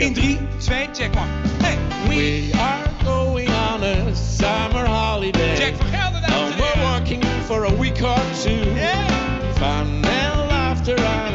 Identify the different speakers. Speaker 1: In 3, 2, check 1. Hey, we
Speaker 2: We are going on a summer holiday.
Speaker 1: Jack van Gelder, dames en
Speaker 2: and we're
Speaker 1: heren.
Speaker 2: working for a week or two.
Speaker 1: Yeah.
Speaker 2: Fun and laughter on